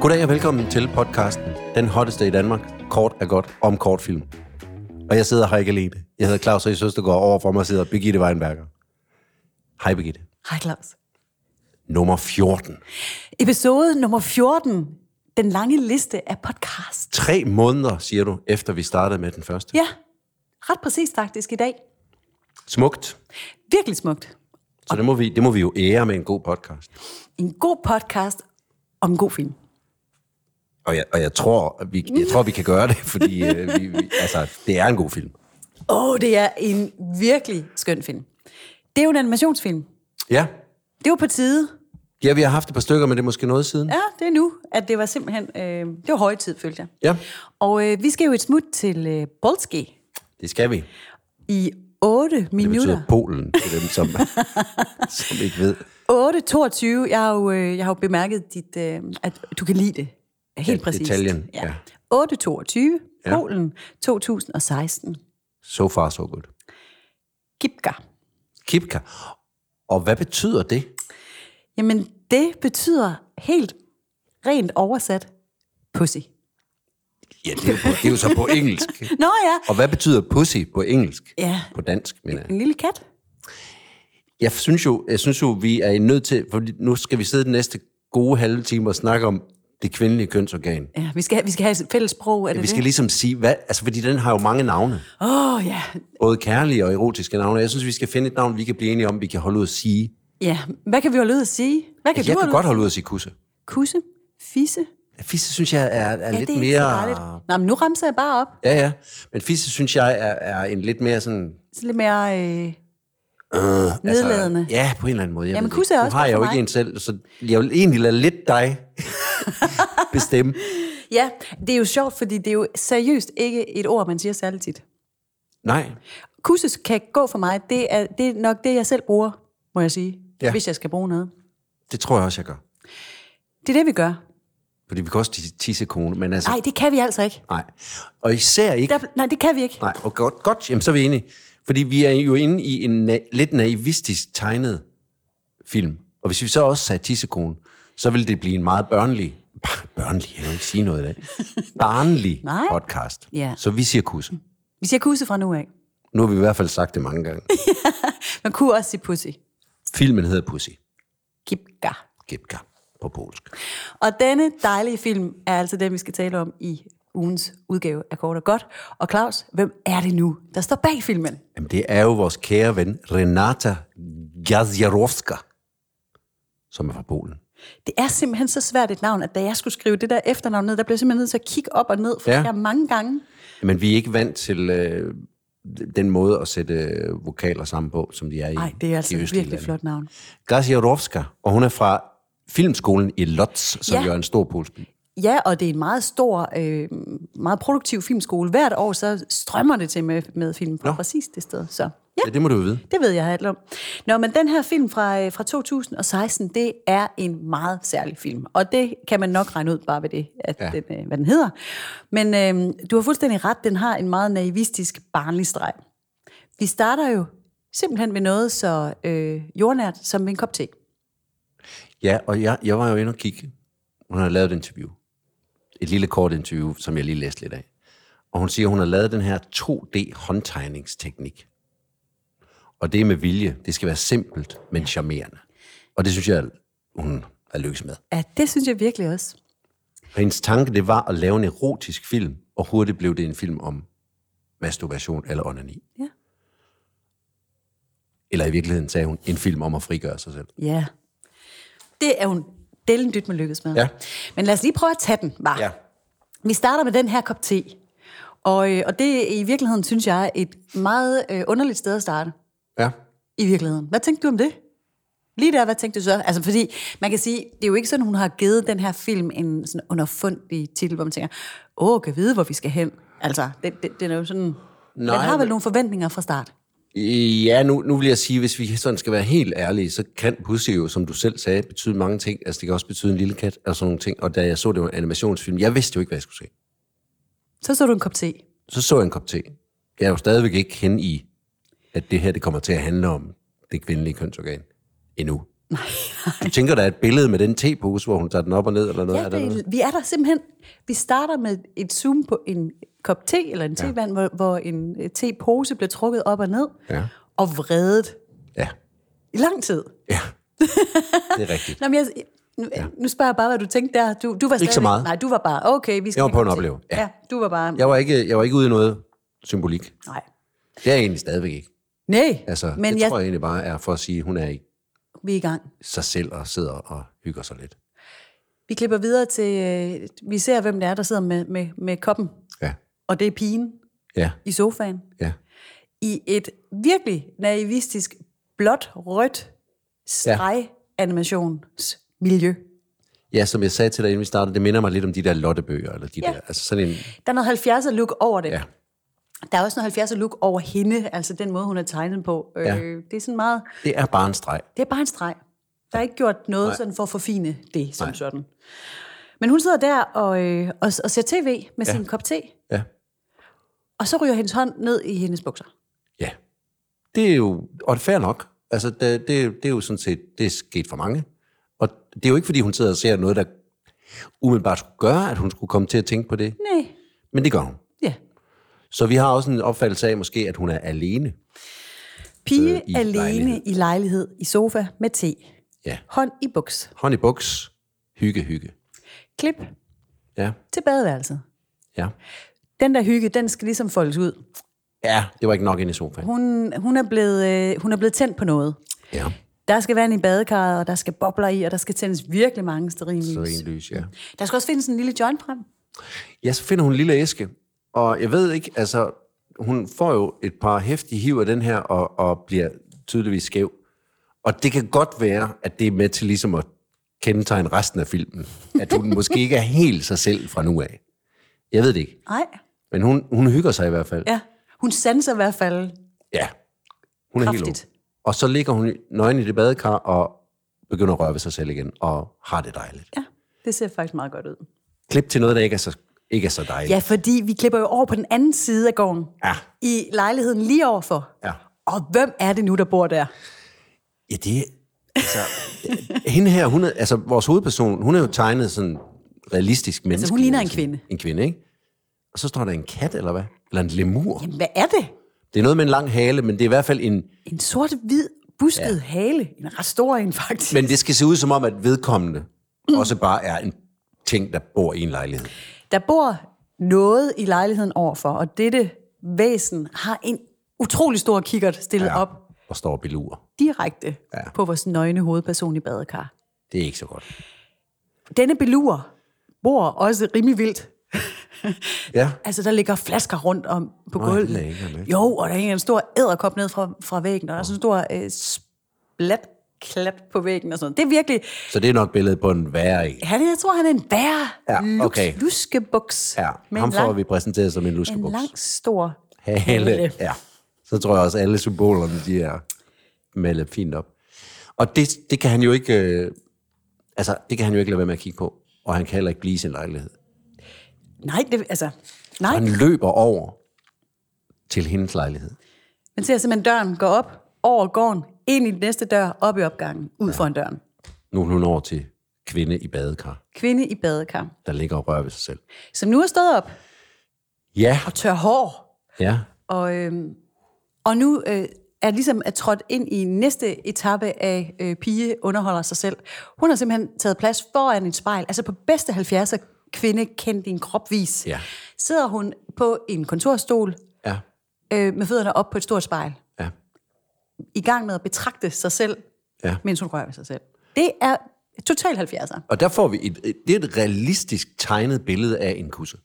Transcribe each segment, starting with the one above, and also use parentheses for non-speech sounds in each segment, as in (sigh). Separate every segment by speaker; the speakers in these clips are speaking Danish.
Speaker 1: Goddag og velkommen til podcasten Den hotteste i Danmark, kort er godt, om kortfilm. Og jeg sidder her ikke alene. Jeg hedder Claus og i Søstergaard, overfor mig sidder Birgitte Weinberger. Hej Birgitte.
Speaker 2: Hej Claus.
Speaker 1: Nummer 14.
Speaker 2: Episode nummer 14. Den lange liste af podcast.
Speaker 1: Tre måneder, siger du, efter vi startede med den første.
Speaker 2: Ja, ret præcis faktisk i dag.
Speaker 1: Smukt.
Speaker 2: Virkelig smukt.
Speaker 1: Så det må, vi, det må vi jo ære med en god podcast.
Speaker 2: En god podcast om en god film.
Speaker 1: Og jeg, og jeg, tror, vi, jeg tror, vi kan gøre det, fordi øh, vi, vi, altså, det er en god film.
Speaker 2: Åh, oh, det er en virkelig skøn film. Det er jo en animationsfilm.
Speaker 1: Ja.
Speaker 2: Det er jo på tide.
Speaker 1: Ja, vi har haft et par stykker, men det er måske noget siden.
Speaker 2: Ja, det er nu, at det var simpelthen... Øh, det var høje tid, følte jeg.
Speaker 1: Ja,
Speaker 2: Og øh, vi skal jo et smut til øh, Bolski
Speaker 1: det skal vi.
Speaker 2: i 8
Speaker 1: Det betyder
Speaker 2: minutter.
Speaker 1: Polen til dem,
Speaker 2: (laughs)
Speaker 1: som, som ikke ved.
Speaker 2: 8.22. Jeg har jo, øh, jeg har jo bemærket, dit, øh, at du kan lide det. Helt
Speaker 1: Ja,
Speaker 2: præcist.
Speaker 1: detaljen, ja.
Speaker 2: 8.22. Polen 2016.
Speaker 1: So far, so good.
Speaker 2: Kipka.
Speaker 1: Kipka. Og hvad betyder det?
Speaker 2: Jamen, det betyder helt rent oversat pussy.
Speaker 1: Ja, det er, jo på, det er jo så på engelsk.
Speaker 2: Nå ja,
Speaker 1: Og hvad betyder pussy på engelsk?
Speaker 2: Ja.
Speaker 1: På dansk, mener jeg.
Speaker 2: en lille kat.
Speaker 1: Jeg synes jo, jeg synes jo vi er nødt til, for nu skal vi sidde den næste gode halve time og snakke om det kvindelige kønsorgan.
Speaker 2: Ja, vi skal, have- vi skal have et fælles sprog, er det
Speaker 1: Vi skal
Speaker 2: det?
Speaker 1: ligesom sige, hvad, altså fordi den har jo mange navne.
Speaker 2: Åh, oh, ja.
Speaker 1: Både kærlige og erotiske navne. Jeg synes, vi skal finde et navn, vi kan blive enige om, vi kan holde ud at sige.
Speaker 2: Ja, hvad kan vi holde ud at sige? Hvad kan
Speaker 1: Jeg
Speaker 2: du
Speaker 1: kan godt holde ud at sige kusse.
Speaker 2: Kusse? Fisse?
Speaker 1: Fisse synes jeg er, er
Speaker 2: Ja,
Speaker 1: lidt
Speaker 2: det er ikke så
Speaker 1: mere...
Speaker 2: dejligt. Nå, men nu ramser jeg bare op.
Speaker 1: Ja, ja. Men fisse synes jeg er, er en lidt mere sådan...
Speaker 2: Så lidt mere øh, nedladende.
Speaker 1: Altså, ja, på en eller anden måde. Jeg
Speaker 2: Jamen,
Speaker 1: ved det
Speaker 2: kusse er
Speaker 1: ikke.
Speaker 2: også
Speaker 1: Nu har
Speaker 2: godt
Speaker 1: jeg jo
Speaker 2: for
Speaker 1: ikke
Speaker 2: mig.
Speaker 1: en selv, så jeg vil egentlig lade lidt
Speaker 2: (laughs)
Speaker 1: dig bestemme.
Speaker 2: Ja, det er jo sjovt, fordi det er jo seriøst ikke et ord, man siger særligt tit.
Speaker 1: Nej.
Speaker 2: Kusses kan gå for mig, det er, det er nok det, jeg selv bruger, må jeg sige,
Speaker 1: Ja.
Speaker 2: ja. hvis jeg skal bruge noget.
Speaker 1: Det tror jeg også, jeg gør.
Speaker 2: Det er det, vi gør.
Speaker 1: Fordi vi kan også tisse- tisse kone, men altså...
Speaker 2: Nej, det kan vi altså ikke.
Speaker 1: Nej. Og især ikke...
Speaker 2: Der, nej, det kan vi ikke.
Speaker 1: Nej, og godt, godt, jamen så er vi enige. Fordi vi er jo inde i en na- lidt naivistisk tegnet film. Og hvis vi så også sagde tissekone, så ville det blive en meget børnelig, Bah, børnelig, jeg kan jo ikke sige
Speaker 2: (laughs)
Speaker 1: noget i dag, barnlig
Speaker 2: Nej.
Speaker 1: podcast.
Speaker 2: Ja.
Speaker 1: Så vi siger kusse.
Speaker 2: Vi siger kusse fra nu af.
Speaker 1: Nu har vi i hvert fald sagt det mange
Speaker 2: (laughs)
Speaker 1: gange.
Speaker 2: Man kunne også sige pussy.
Speaker 1: Filmen hedder Pussy.
Speaker 2: Kipka.
Speaker 1: Gipka på polsk.
Speaker 2: Og denne dejlige film er altså den, vi skal tale om i ugens udgave af Kort og Godt. Og Claus, hvem er det nu, der står bag filmen?
Speaker 1: Jamen, det er jo vores kære ven, Renata Gazjarovska, som er fra Polen.
Speaker 2: Det er simpelthen så svært et navn, at da jeg skulle skrive det der efternavn ned, der blev jeg simpelthen nødt til at kigge op og ned, for
Speaker 1: Ja.
Speaker 2: ja. jeg mange gange.
Speaker 1: Men vi er ikke vant til øh, den måde at sætte øh, vokaler sammen på, som de er i
Speaker 2: Nej, det er altså
Speaker 1: de
Speaker 2: et
Speaker 1: østlige
Speaker 2: virkelig
Speaker 1: lande.
Speaker 2: flot navn.
Speaker 1: Gazjarovska, og hun er fra filmskolen i Lodz, som ja.
Speaker 2: Ja.
Speaker 1: jo er en stor polsk by.
Speaker 2: Ja, og det er en meget stor, øh, meget produktiv filmskole. Hvert år så strømmer det til med, med film fra
Speaker 1: Nå.
Speaker 2: Nå. præcis det sted. Så ja,
Speaker 1: Ja. ja, det må du jo vide.
Speaker 2: det ved jeg alt om. Nå, men den her film fra, øh, fra 2016, det er en meget særlig film. Og det kan man nok regne ud bare ved det, at
Speaker 1: Ja.
Speaker 2: ja. den, øh, hvad den hedder. Men øh, du har fuldstændig ret, den har en meget naivistisk barnlig streg. Vi starter jo simpelthen med noget så øh, jordnært som en kop te.
Speaker 1: Ja, og jeg, jeg var jo inde og kigge. Hun har lavet et interview. Et lille kort interview, som jeg lige læste lidt af. Og hun siger, hun har lavet den her 2D-håndtegningsteknik. Og det er med vilje. Det skal være simpelt, men charmerende. Og det synes jeg, hun er lykkes med.
Speaker 2: Ja, det synes jeg virkelig også.
Speaker 1: Og hendes tanke, det var at lave en erotisk film, og hurtigt blev det en film om masturbation eller onani.
Speaker 2: Ja.
Speaker 1: Eller i virkeligheden sagde hun, en film om at frigøre sig selv.
Speaker 2: Ja. Det er hun delen dyt med lykkes med.
Speaker 1: Ja.
Speaker 2: Men lad os lige prøve at tage den bare. Vi starter med den her kop te. Og, øh, og det er i virkeligheden, synes jeg, er et meget øh, underligt sted at starte.
Speaker 1: Ja.
Speaker 2: I virkeligheden. Hvad tænkte du om det? Lige der, hvad tænkte du så? Altså, fordi man kan sige, det er jo ikke sådan, hun har givet den her film en sådan underfundig titel, hvor man tænker, åh, kan vide, hvor vi skal hen. Altså, det, det, den er jo sådan...
Speaker 1: Nej,
Speaker 2: Nej, den har vel
Speaker 1: men-
Speaker 2: nogle forventninger fra start.
Speaker 1: Øh, Ja, nu, nu vil jeg sige, hvis vi sådan skal være helt ærlige, så kan pussy jo, som du selv sagde, betyde mange ting. Altså, det kan også betyde en lille kat og sådan nogle ting. Og da jeg så det var en animationsfilm, jeg vidste jo ikke, hvad jeg skulle se.
Speaker 2: Så så du en kop te.
Speaker 1: Så så jeg en kop te. Jeg er jo stadigvæk ikke hen i, at det her det kommer til at handle om det kvindelige kønsorgan endnu.
Speaker 2: Nej,
Speaker 1: Du tænker, der er et billede med den tepose, hvor hun tager den op og ned, eller noget?
Speaker 2: Ja,
Speaker 1: er der noget?
Speaker 2: det, vi er der simpelthen. Vi starter med et zoom på en kop te eller en tevand, hvor, hvor en øh, tepose bliver trukket op og ned
Speaker 1: Ja.
Speaker 2: og vredet
Speaker 1: Ja.
Speaker 2: i lang tid.
Speaker 1: ja. Det er rigtigt.
Speaker 2: Nå, men jeg, nu, ja. nu spørger jeg bare, hvad du tænkte der. Du, du var
Speaker 1: Ikke så
Speaker 2: stadigvæk-
Speaker 1: meget.
Speaker 2: Nej, du var bare, okay, vi skal
Speaker 1: Jeg var
Speaker 2: have
Speaker 1: på en
Speaker 2: kop te.
Speaker 1: oplevelse, ja.
Speaker 2: Ja. du var bare, ja.
Speaker 1: Jeg var ikke, jeg var ikke ude i noget symbolik.
Speaker 2: nej.
Speaker 1: Det er jeg egentlig stadigvæk ikke.
Speaker 2: Nej,
Speaker 1: Altså,
Speaker 2: men
Speaker 1: Men det
Speaker 2: jeg,
Speaker 1: jeg... tror jeg egentlig bare er for at sige, at hun er i
Speaker 2: vi er i gang.
Speaker 1: sig selv og sidder og hygger sig lidt.
Speaker 2: Vi klipper videre til, øh, vi ser, hvem det er, der sidder med, med, med koppen.
Speaker 1: Ja,
Speaker 2: Og det er pigen
Speaker 1: ja,
Speaker 2: i sofaen.
Speaker 1: ja.
Speaker 2: i et virkelig naivistisk blåt-rødt streg-animationsmiljø.
Speaker 1: Ja, som jeg sagde til dig, inden vi startede, det minder mig lidt om de der lottebøger, eller de ja.
Speaker 2: Ja.
Speaker 1: der, altså sådan en,
Speaker 2: Der er noget 70'er look over det.
Speaker 1: Ja.
Speaker 2: Der er også noget 70'er look over hende, altså den måde, hun er tegnet på.
Speaker 1: Ja.
Speaker 2: Ja. Øh, det er sådan meget,
Speaker 1: det er bare en streg.
Speaker 2: det er bare en streg. Der er ikke gjort noget
Speaker 1: Nej.
Speaker 2: Nej. sådan for at forfine det som Nej. sådan. Men hun sidder der og, øh, og, og ser tv med ja. sin kop te,
Speaker 1: Ja,
Speaker 2: og så ryger hendes hånd ned i hendes bukser.
Speaker 1: ja. Det er jo, og det er fair nok. Altså, det, det, det er jo sådan set, det er sket for mange. Og det er jo ikke, fordi hun sidder og ser noget, der umiddelbart skulle gøre, at hun skulle komme til at tænke på det.
Speaker 2: Nej,
Speaker 1: Men det gør hun.
Speaker 2: ja.
Speaker 1: Så vi har også en opfattelse af måske, at hun er alene.
Speaker 2: Pige
Speaker 1: Øh, i
Speaker 2: øh, alene
Speaker 1: lejlighed.
Speaker 2: lejlighed. i lejlighed, i sofa med te.
Speaker 1: Ja.
Speaker 2: Hånd i buks.
Speaker 1: Hånd i buks. Hygge, hygge.
Speaker 2: Klip
Speaker 1: Ja,
Speaker 2: til badeværelset.
Speaker 1: ja.
Speaker 2: Den der hygge, den skal ligesom foldes ud.
Speaker 1: Ja, det var ikke nok ind i sofaen.
Speaker 2: Hun, hun, er blevet, øh, hun er blevet tændt på noget.
Speaker 1: Ja,
Speaker 2: Der skal vand i badekarret, og der skal bobler i, og der skal tændes virkelig mange
Speaker 1: så
Speaker 2: stearinlys.
Speaker 1: en lys, ja.
Speaker 2: Der skal også findes en lille joint frem.
Speaker 1: Ja, så finder hun en lille æske. Og jeg ved ikke, altså, hun får jo et par hæftige hiv af den her, og, og bliver tydeligvis skæv. Og det kan godt være, at det er med til ligesom at kendetegne resten af filmen. At
Speaker 2: (laughs)
Speaker 1: hun måske ikke er helt sig selv fra nu af. Jeg ved det ikke.
Speaker 2: Nej,
Speaker 1: Men hun, hun hygger sig i hvert fald.
Speaker 2: ja. Hun sanser i hvert fald.
Speaker 1: Ja. Hun er helt
Speaker 2: Kraftigt.
Speaker 1: ung. Og så ligger hun nøgen i det badekar og begynder at røre ved sig selv igen, og har det dejligt.
Speaker 2: Ja, det ser faktisk meget godt ud.
Speaker 1: Klip til noget, der ikke er så, ikke er så dejligt.
Speaker 2: Ja, fordi vi klipper jo over på den anden side af gården.
Speaker 1: Ja.
Speaker 2: I lejligheden lige overfor.
Speaker 1: Ja.
Speaker 2: Og hvem er det nu, der bor der?
Speaker 1: Ja, det altså, hende her, hun er, altså vores hovedperson, hun er jo tegnet sådan realistisk menneske.
Speaker 2: Altså, hun ligner en
Speaker 1: sådan-
Speaker 2: kvinde.
Speaker 1: En kvinde, ikke? Og så står der en kat, eller hvad? Eller en lemur. Jamen.
Speaker 2: Hvad er det?
Speaker 1: Det er noget med en lang hale, men det er i hvert fald en...
Speaker 2: En sort-hvid busket ja. hale. En ret stor en, faktisk.
Speaker 1: Men det skal se ud som om, at vedkommende også bare er en ting, der bor i en lejlighed.
Speaker 2: Der bor noget i lejligheden overfor, og dette væsen har en utrolig stor kikkert stillet ja. op
Speaker 1: Og står og belurer.
Speaker 2: direkte
Speaker 1: Ja.
Speaker 2: ja. på vores nøgne hovedperson i badekar.
Speaker 1: Det er ikke så godt.
Speaker 2: Denne belur bor også rimelig vildt. (laughs)
Speaker 1: Ja.
Speaker 2: Altså, der ligger flasker rundt om på
Speaker 1: det
Speaker 2: gulvet.
Speaker 1: lagde jeg ikke mærke til.
Speaker 2: jo, og der hænger en stor æderkop ned fra, fra væggen, og der er sådan en stor øh, splat klat på væggen og sådan noget. Det er virkelig...
Speaker 1: Så det er nok billedet på en værre en.
Speaker 2: Han, jeg tror, han er en bær.
Speaker 1: Ja, okay.
Speaker 2: Lus, luskebuks.
Speaker 1: Ja,
Speaker 2: med
Speaker 1: ham
Speaker 2: en lang,
Speaker 1: får vi præsenteret som en
Speaker 2: en
Speaker 1: luskebuks.
Speaker 2: lang, stor
Speaker 1: hale. Ja. Så tror jeg også, at alle symbolerne, de er malet fint op. Og det, det kan han jo ikke... Øh, altså, det kan han jo ikke lade være med at kigge på. Og han kan heller ikke blive i sin lejlighed.
Speaker 2: Nej, det, altså, nej.
Speaker 1: Han løber over til hendes lejlighed.
Speaker 2: Man ser simpelthen døren gå op, over gården, ind i den næste dør, op i opgangen, ud foran døren.
Speaker 1: Nu er hun over til kvinde i badekar,
Speaker 2: Kvinde i badekar,
Speaker 1: der ligger og rører ved sig selv.
Speaker 2: som nu er stået op
Speaker 1: Ja,
Speaker 2: og tør hår,
Speaker 1: ja,
Speaker 2: og, øhm, og nu øh, er ligesom er trådt ind i næste etape af øh, pige underholder sig selv. Hun har simpelthen taget plads foran et spejl, altså på bedste 70'er kvinde kendt din kropvis.
Speaker 1: Ja.
Speaker 2: Sidder hun på en kontorstol
Speaker 1: ja,
Speaker 2: øh, med fødderne op på et stort spejl,
Speaker 1: ja,
Speaker 2: i gang med at betragte sig selv,
Speaker 1: ja.
Speaker 2: mens hun rører ved sig selv. Det er totalt 70'er.
Speaker 1: Og der får vi et, et, det er et realistisk tegnet billede af en kusse.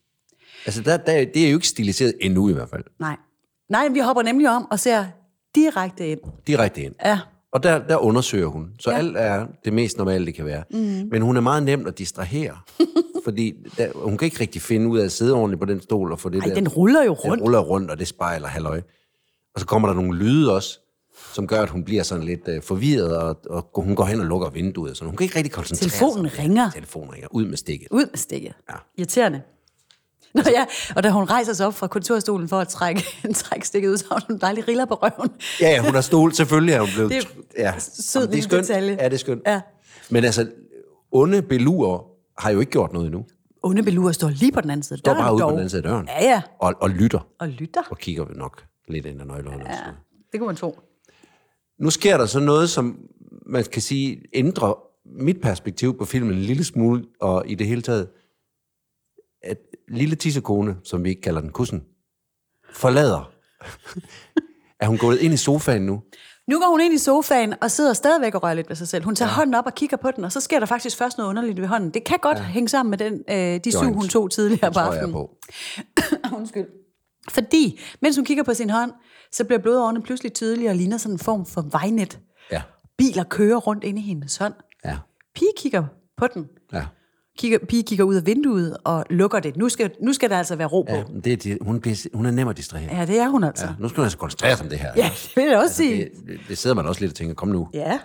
Speaker 1: Altså, der, der, det er jo ikke stiliseret endnu i hvert fald.
Speaker 2: Nej. Nej, vi hopper nemlig om og ser direkte ind.
Speaker 1: Direkte ind.
Speaker 2: Ja.
Speaker 1: Og der, der undersøger hun. Så ja. alt er det mest normale, det kan være. Mm.
Speaker 2: Mhm.
Speaker 1: Men hun er meget nem at
Speaker 2: (laughs)
Speaker 1: distrahere. fordi der, hun kan ikke rigtig finde ud af at sidde ordentligt på den stol og få det
Speaker 2: Ej,
Speaker 1: der...
Speaker 2: den ruller jo
Speaker 1: den
Speaker 2: rundt.
Speaker 1: ruller rundt, og det spejler halløj. Og så kommer der nogle lyde også, som gør, at hun bliver sådan lidt øh, forvirret, og, og hun går hen og lukker vinduet. Så hun kan ikke rigtig koncentrere sig.
Speaker 2: Telefonen ringer.
Speaker 1: Telefonen ringer. Ud med stikket.
Speaker 2: Ud med stikket.
Speaker 1: Ja. Altså-
Speaker 2: Irriterende. Nå ja, og da hun rejser sig op fra kontorstolen for at trække, (laughs) trække stikket ud, så har hun en dejlig riller på røven.
Speaker 1: Ja, ja, hun har stol, selvfølgelig er hun blevet...
Speaker 2: Det er
Speaker 1: ja.
Speaker 2: sød
Speaker 1: Jamen, det er
Speaker 2: lille
Speaker 1: skønt.
Speaker 2: detalje.
Speaker 1: Ja, det er skønt.
Speaker 2: Ja.
Speaker 1: Men altså, onde beluer har jo ikke gjort noget endnu. De
Speaker 2: Onde beluer står lige på den anden side af
Speaker 1: står
Speaker 2: døren.
Speaker 1: bare ude på
Speaker 2: dog.
Speaker 1: den anden side af døren
Speaker 2: Ja, ja.
Speaker 1: og, og lytter
Speaker 2: Og lytter.
Speaker 1: og kigger nok lidt ind ad nøglehullet. Ja.
Speaker 2: Det kunne man tro.
Speaker 1: Nu sker der så noget, som man kan sige ændrer mit perspektiv på filmen en lille smule, og i det hele taget, at lille tissekone, som vi ikke kalder den kussen, forlader. (laughs) er hun gået ind i sofaen nu?
Speaker 2: Nu går hun ind i sofaen og sidder stadigvæk og rører lidt ved sig selv. Hun tager ja. hånden op og kigger på den, og så sker der faktisk først noget underligt ved hånden. Det kan godt ja. hænge sammen med den, øh, de syv,
Speaker 1: Joint.
Speaker 2: hun tog tidligere på
Speaker 1: Tror jeg
Speaker 2: aftenen.
Speaker 1: på.
Speaker 2: Undskyld. Fordi, mens hun kigger på sin hånd, så bliver blodårene pludselig tydelige og ligner sådan en form for vejnet.
Speaker 1: Ja,
Speaker 2: Biler kører rundt inde i hendes hånd.
Speaker 1: ja,
Speaker 2: Pige kigger på den.
Speaker 1: ja.
Speaker 2: Kigger, pige kigger ud af vinduet og lukker det. Nu skal, nu skal der altså være ro på.
Speaker 1: ja men det, er det, hun, bliver, hun er nem at distrahere.
Speaker 2: Ja, det er hun altså.
Speaker 1: Ja, nu skal man altså koncentrere sig om det her.
Speaker 2: Ja, det vil jeg også sige.
Speaker 1: Det, det sidder man også lidt og tænker, kom nu.
Speaker 2: Ja.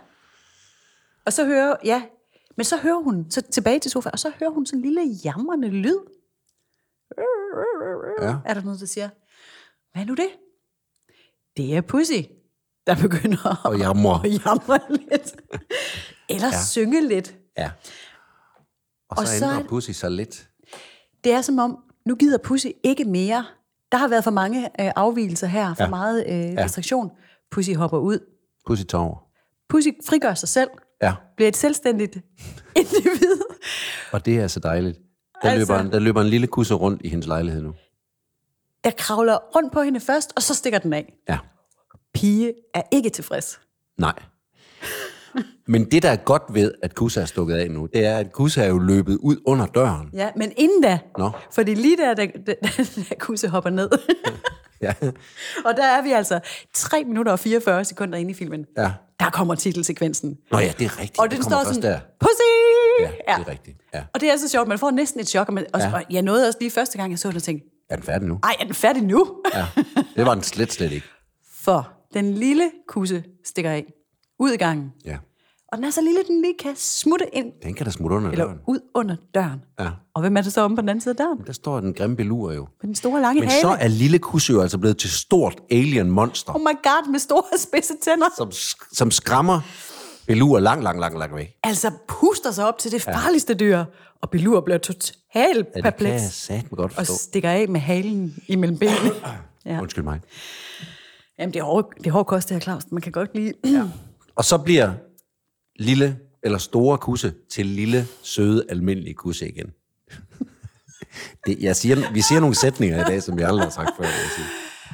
Speaker 2: Og så hører, ja, men så hører hun, så tilbage til sofaen, og så hører hun sådan en lille jamrende lyd.
Speaker 1: Ja.
Speaker 2: Er der noget, der siger, hvad er nu det? Det er Pussy, der begynder at
Speaker 1: Og jeg mor.
Speaker 2: (laughs) jamre lidt. Eller ja. synge lidt.
Speaker 1: Ja. Og så,
Speaker 2: Og
Speaker 1: og
Speaker 2: så
Speaker 1: så
Speaker 2: er
Speaker 1: ændrer
Speaker 2: det-
Speaker 1: Pussy sig lidt.
Speaker 2: Det er som om, nu gider Pussy ikke mere. Der har været for mange øh, afvielser her, for ja.
Speaker 1: Ja.
Speaker 2: meget øh, distraktion. Pussy hopper ud.
Speaker 1: Pussy tover.
Speaker 2: Pussy frigør sig selv,
Speaker 1: Ja.
Speaker 2: bliver et selvstændigt (laughs) individ.
Speaker 1: Og det er så dejligt. Der,
Speaker 2: Altså-
Speaker 1: altså... løber, en, der løber en lille kusse rundt i hendes lejlighed nu.
Speaker 2: Jeg kravler rundt på hende først, og så stikker den af.
Speaker 1: Ja.
Speaker 2: Pige er ikke tilfreds.
Speaker 1: Nej. Men det, der er godt ved, at Kusa er stukket af nu, det er, at Kusa er jo løbet ud under døren.
Speaker 2: Ja, men inden da,
Speaker 1: Nå.
Speaker 2: fordi lige der, da, da, da (laughs) Kusse hopper
Speaker 1: (laughs)
Speaker 2: ned,
Speaker 1: Ja.
Speaker 2: og der er vi altså 3 minutter og 44 sekunder inde i filmen,
Speaker 1: ja.
Speaker 2: der kommer titelsekvensen.
Speaker 1: Nå ja, det er rigtigt.
Speaker 2: Og
Speaker 1: det
Speaker 2: den
Speaker 1: kommer
Speaker 2: står
Speaker 1: først
Speaker 2: sådan,
Speaker 1: der.
Speaker 2: pussy!
Speaker 1: Ja, det er rigtigt. Ja.
Speaker 2: Og det er så sjovt, man får næsten et chok, og, man, og, ja.
Speaker 1: Ja.
Speaker 2: og jeg nåede også lige første gang, jeg så den og tænkte,
Speaker 1: Er den færdig nu?
Speaker 2: ej, er den færdig nu?
Speaker 1: Ja. Det var den slet, slet ikke.
Speaker 2: (laughs) For den lille kusse stikker af ud i gangen,
Speaker 1: Ja.
Speaker 2: og den er så lille, den lige kan smutte ind
Speaker 1: Den kan da smutte under
Speaker 2: eller
Speaker 1: døren.
Speaker 2: ud under døren.
Speaker 1: Ja.
Speaker 2: Og hvem er det så omme på den anden side af døren?
Speaker 1: Der står den grimme belur jo.
Speaker 2: Med den store lange
Speaker 1: Men
Speaker 2: hale.
Speaker 1: så er lille Kusse jo altså blevet til stort alien-monster,
Speaker 2: Oh my god, med store (laughs) spidse tænder.
Speaker 1: som, sk- som skræmmer Belur langt, langt, langt, langt væk.
Speaker 2: Altså puster sig op til det farligste dyr, og Belur bliver totalt
Speaker 1: Ja, det kan jeg
Speaker 2: perpleks
Speaker 1: satme godt
Speaker 2: og
Speaker 1: forstå.
Speaker 2: stikker af med halen
Speaker 1: (clears throat)
Speaker 2: imellem benene. Ja.
Speaker 1: Undskyld mig.
Speaker 2: Jamen, det er hård, det er hård kost, det her, Claus. Man kan godt lide... (clears throat) Ja.
Speaker 1: Og så bliver lille eller store kusse til lille, søde, almindelige kusse igen. (laughs) det, jeg siger, vi siger nogle sætninger i dag, som jeg aldrig har sagt før. vil Jeg sige.